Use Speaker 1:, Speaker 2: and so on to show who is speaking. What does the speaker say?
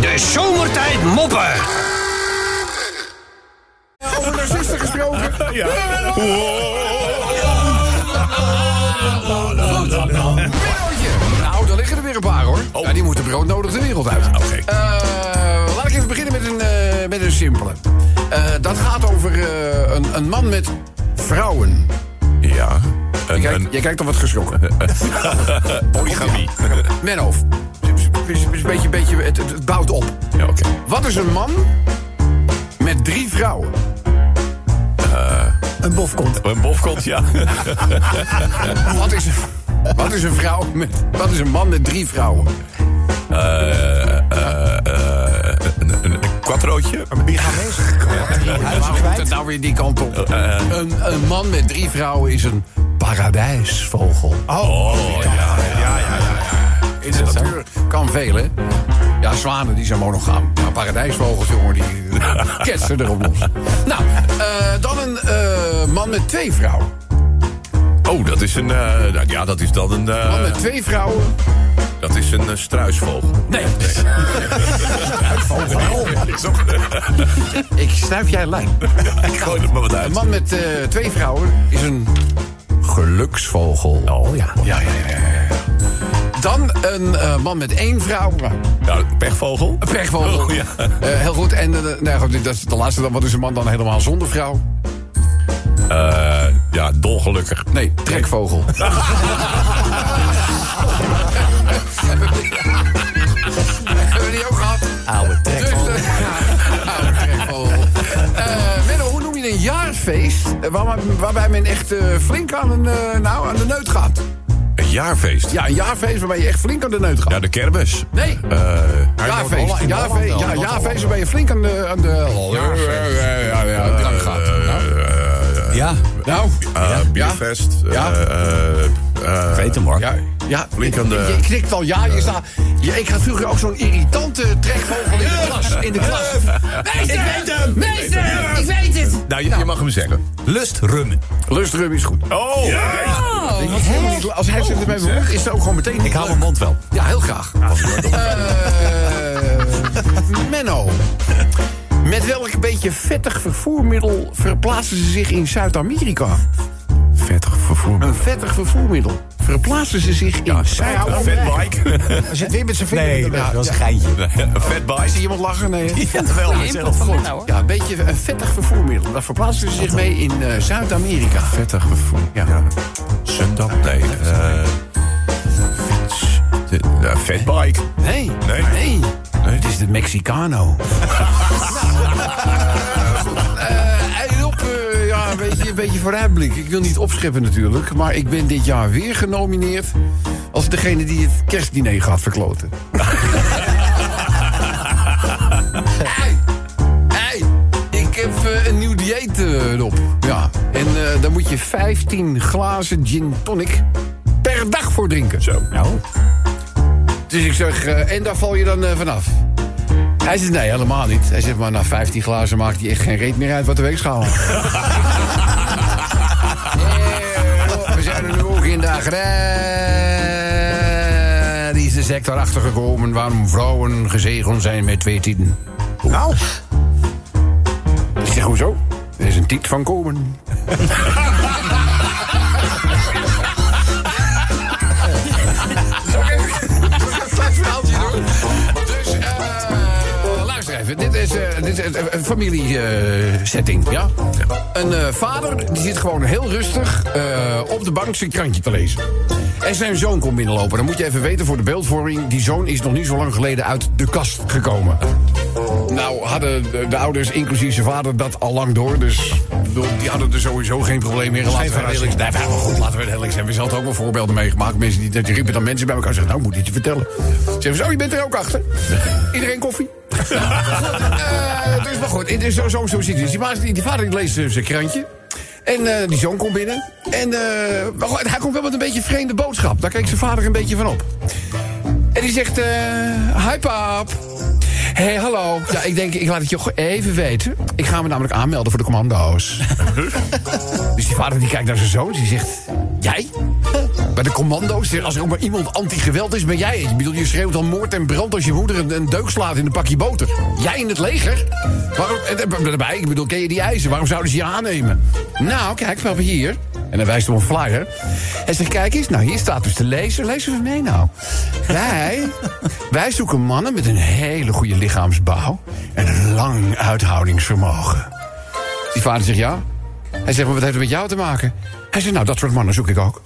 Speaker 1: De zomertijd moppen.
Speaker 2: Over narcisten gesproken.
Speaker 3: Ja.
Speaker 2: Minnootje. Nou, daar liggen er weer een paar hoor. Ja, die moeten broodnodig de wereld uit.
Speaker 3: Oh. Ah, oké.
Speaker 2: Eh, laat ik even beginnen met een, eh, met een simpele. Eh, dat gaat over eh, een, een man met vrouwen.
Speaker 3: Ja. Een,
Speaker 2: Kijk,
Speaker 3: een
Speaker 2: jij kijkt al wat geschrokken.
Speaker 3: polygamie.
Speaker 2: Menno. Het is- het is een beetje, beetje, het, het- het bouwt op.
Speaker 3: Ja, oké.
Speaker 2: Wat is een man met drie vrouwen?
Speaker 4: Een bof komt.
Speaker 3: Een bofkont, ja.
Speaker 2: Wat is, wat is een vrouw met. Wat is een man met drie vrouwen?
Speaker 3: Een, een, een kwadrootje. Een bigamese.
Speaker 2: Waarom moet het nou weer die kant op?
Speaker 3: Eh,
Speaker 2: Een, een man met drie vrouwen is een paradijsvogel.
Speaker 3: Oh, ja. Ja, ja, ja.
Speaker 2: In de natuur kan veel, hè? Ja, zwanen die zijn monogaam. Maar paradijsvogels, jongen, die ketsen erop los. Nou, eh, dan een eh, man met twee vrouwen.
Speaker 3: Oh, dat is een. eh, nou, ja, dat is dan een. eh,
Speaker 2: Man met twee vrouwen.
Speaker 3: dat is een eh, struisvogel.
Speaker 2: Nee. Ik snuif jij lijn.
Speaker 3: Ik gooi er maar wat
Speaker 2: Een
Speaker 3: uit.
Speaker 2: man met eh, twee vrouwen is een geluksvogel.
Speaker 3: Oh ja.
Speaker 2: Ja, ja, ja. ja, ja. Dan een eh, man met één vrouw. Een
Speaker 3: Nou, pechvogel.
Speaker 2: pechvogel.
Speaker 3: Oh, ja.
Speaker 2: Eh, heel goed. En eh, nou, goed, dat is de laatste dan. Wat is een man dan helemaal zonder vrouw?
Speaker 3: Eh, ja, dolgelukkig.
Speaker 2: Nee, trekvogel. Hebben we die ook gehad?
Speaker 4: Oude
Speaker 2: Dus,
Speaker 4: trek.
Speaker 2: eh, oude trekvogel. Eh, Menno, hoe noem je een jaarfeest eh, waar- waarbij men echt eh, flink aan, een, eh, nou, aan de neut gaat?
Speaker 3: Een jaarfeest.
Speaker 2: Ja, een jaarfeest waarbij je echt flink aan de neut gaat.
Speaker 3: Ja, de kermis.
Speaker 2: Nee.
Speaker 3: Eh,
Speaker 2: Jaarfeest. Jaarfeest. Ja, jaarfeest waarbij je flink aan de... Aan de ja, ja, ja, ja, drank gaat. Nou,
Speaker 4: Ja,
Speaker 2: Nou,
Speaker 3: eh, bierfest.
Speaker 2: Ja.
Speaker 3: eh, eh, eh,
Speaker 4: weet hem hoor.
Speaker 2: Ja, ja.
Speaker 3: Flink aan de-
Speaker 2: Je knikt al ja. Je staat, ja, ik had vroeger ook zo'n irritante trekvogel in de klas. In de klas.
Speaker 5: Meester! Ik weet hem! Meester! Ik weet het!
Speaker 3: nou, je, je mag hem zeggen.
Speaker 4: Lustrum.
Speaker 2: Lustrum is goed.
Speaker 3: Oh!
Speaker 2: Ik was helemaal niet- als hij zegt het bij mijn mond, is het ook gewoon meteen.
Speaker 4: Ik hou mijn mond wel.
Speaker 2: Ja, heel graag. Eh, Menno. Met welk beetje vettig vervoermiddel verplaatsen ze zich in Zuid-Amerika?
Speaker 3: Vettig vervoer.
Speaker 2: Een vettig vervoermiddel. Verplaatsen ze zich in
Speaker 3: Een
Speaker 2: Zuid-Amerika?
Speaker 3: fatbike.
Speaker 4: Hij zit weer met zijn vinger. Nee, nou,
Speaker 2: in de
Speaker 4: dat
Speaker 2: lucht.
Speaker 4: was een geintje.
Speaker 3: Een fatbike.
Speaker 2: Zie iemand lachen? Nee. hè?
Speaker 4: Ja, wel.
Speaker 5: Input van Menno, hoor.
Speaker 2: Ja, een beetje een vettig vervoermiddel. Daar verplaatsen ze zich mee in eh, Zuid-Amerika.
Speaker 3: Vettig vervoer.
Speaker 2: Ja.
Speaker 3: Sundap, nee. eh, fiets. De, nou, fatbike.
Speaker 2: Nee.
Speaker 3: Nee.
Speaker 2: Nee.
Speaker 3: Nee.
Speaker 2: Het is de Mexicano. Eh, En op, eh, ja, een beetje, een beetje vooruitblik. Ik wil niet opscheppen natuurlijk, maar ik ben dit jaar weer genomineerd... als degene die het kerstdiner gaat verkloten. hey, hey, ik heb eh, een nieuw dieet eh, op. Ja, en eh daar moet je 15 glazen gin tonic per dag voor drinken.
Speaker 3: Zo.
Speaker 4: Nou,
Speaker 2: Dus ik zeg, eh, en daar val je dan eh, vanaf? Hij zegt, nee, helemaal niet. Hij zegt, maar na 15 glazen maakt hij echt geen reet meer uit wat de weegschaal had. Eh, We zijn er nu ook in de agrarische sector achtergekomen... waarom vrouwen gezegend zijn met twee tieten.
Speaker 4: nou.
Speaker 2: Ik zeg, hoezo? Er is een tiet van komen. Dus, eh, luister even. Dit is, eh, dit is een- een familiesetting, ja? Een eh, vader die zit gewoon heel rustig eh, op de bank zijn krantje te lezen. En zijn zoon komt binnenlopen. Dan moet je even weten voor de beeldvorming... die zoon is nog niet zo lang geleden uit de kast gekomen. Nou, hadden de, de ouders, inclusief zijn vader, dat al lang door. Dus ik bedoel, die hadden er sowieso geen probleem meer. Laten we eerlijk zijn. Nee, maar goed, laten we het eerlijk zijn. We hadden ook wel voorbeelden meegemaakt. Mensen die, die riepen dan mensen bij elkaar en zeggen, nou moet ik het je vertellen. Zeggen ze, oh, je bent er ook achter. Iedereen koffie? Goed, eh, dus maar goed, het is zo, zo, zo ziet het. Dus Die, baas- die, die vader die leest eh, zijn krantje. En eh, die zoon komt binnen. En eh, maar goed, hij komt wel met een beetje vreemde boodschap. Daar keek zijn vader een beetje van op. En die zegt, eh hi pap. Hé, hey, hallo. Ja, ik denk, ik laat het je go- even weten. Ik ga me namelijk aanmelden voor de commando's. dus die vader die kijkt naar zijn zoon, die zegt... Jij? Bij de commando's, als er ook maar iemand anti-geweld is, ben jij het. Ik bedoel, je schreeuwt al moord en brand als je moeder een, een deuk slaat in een pakje boter. Jij in het leger? Waarom, en daar- daarbij, ik bedoel, ken je die eisen? Waarom zouden ze je aannemen? Nou, kijk, papa, hier. En hij wijst op een flyer. Hij zegt, kijk eens, nou, hier staat dus te lezen. Lees even mee nou. Wij, wij zoeken mannen met een hele goede lichaamsbouw... en een lang uithoudingsvermogen. Die vader zegt, ja. Hij zegt, maar wat heeft het met jou te maken? Hij zegt, nou, dat soort mannen zoek ik ook.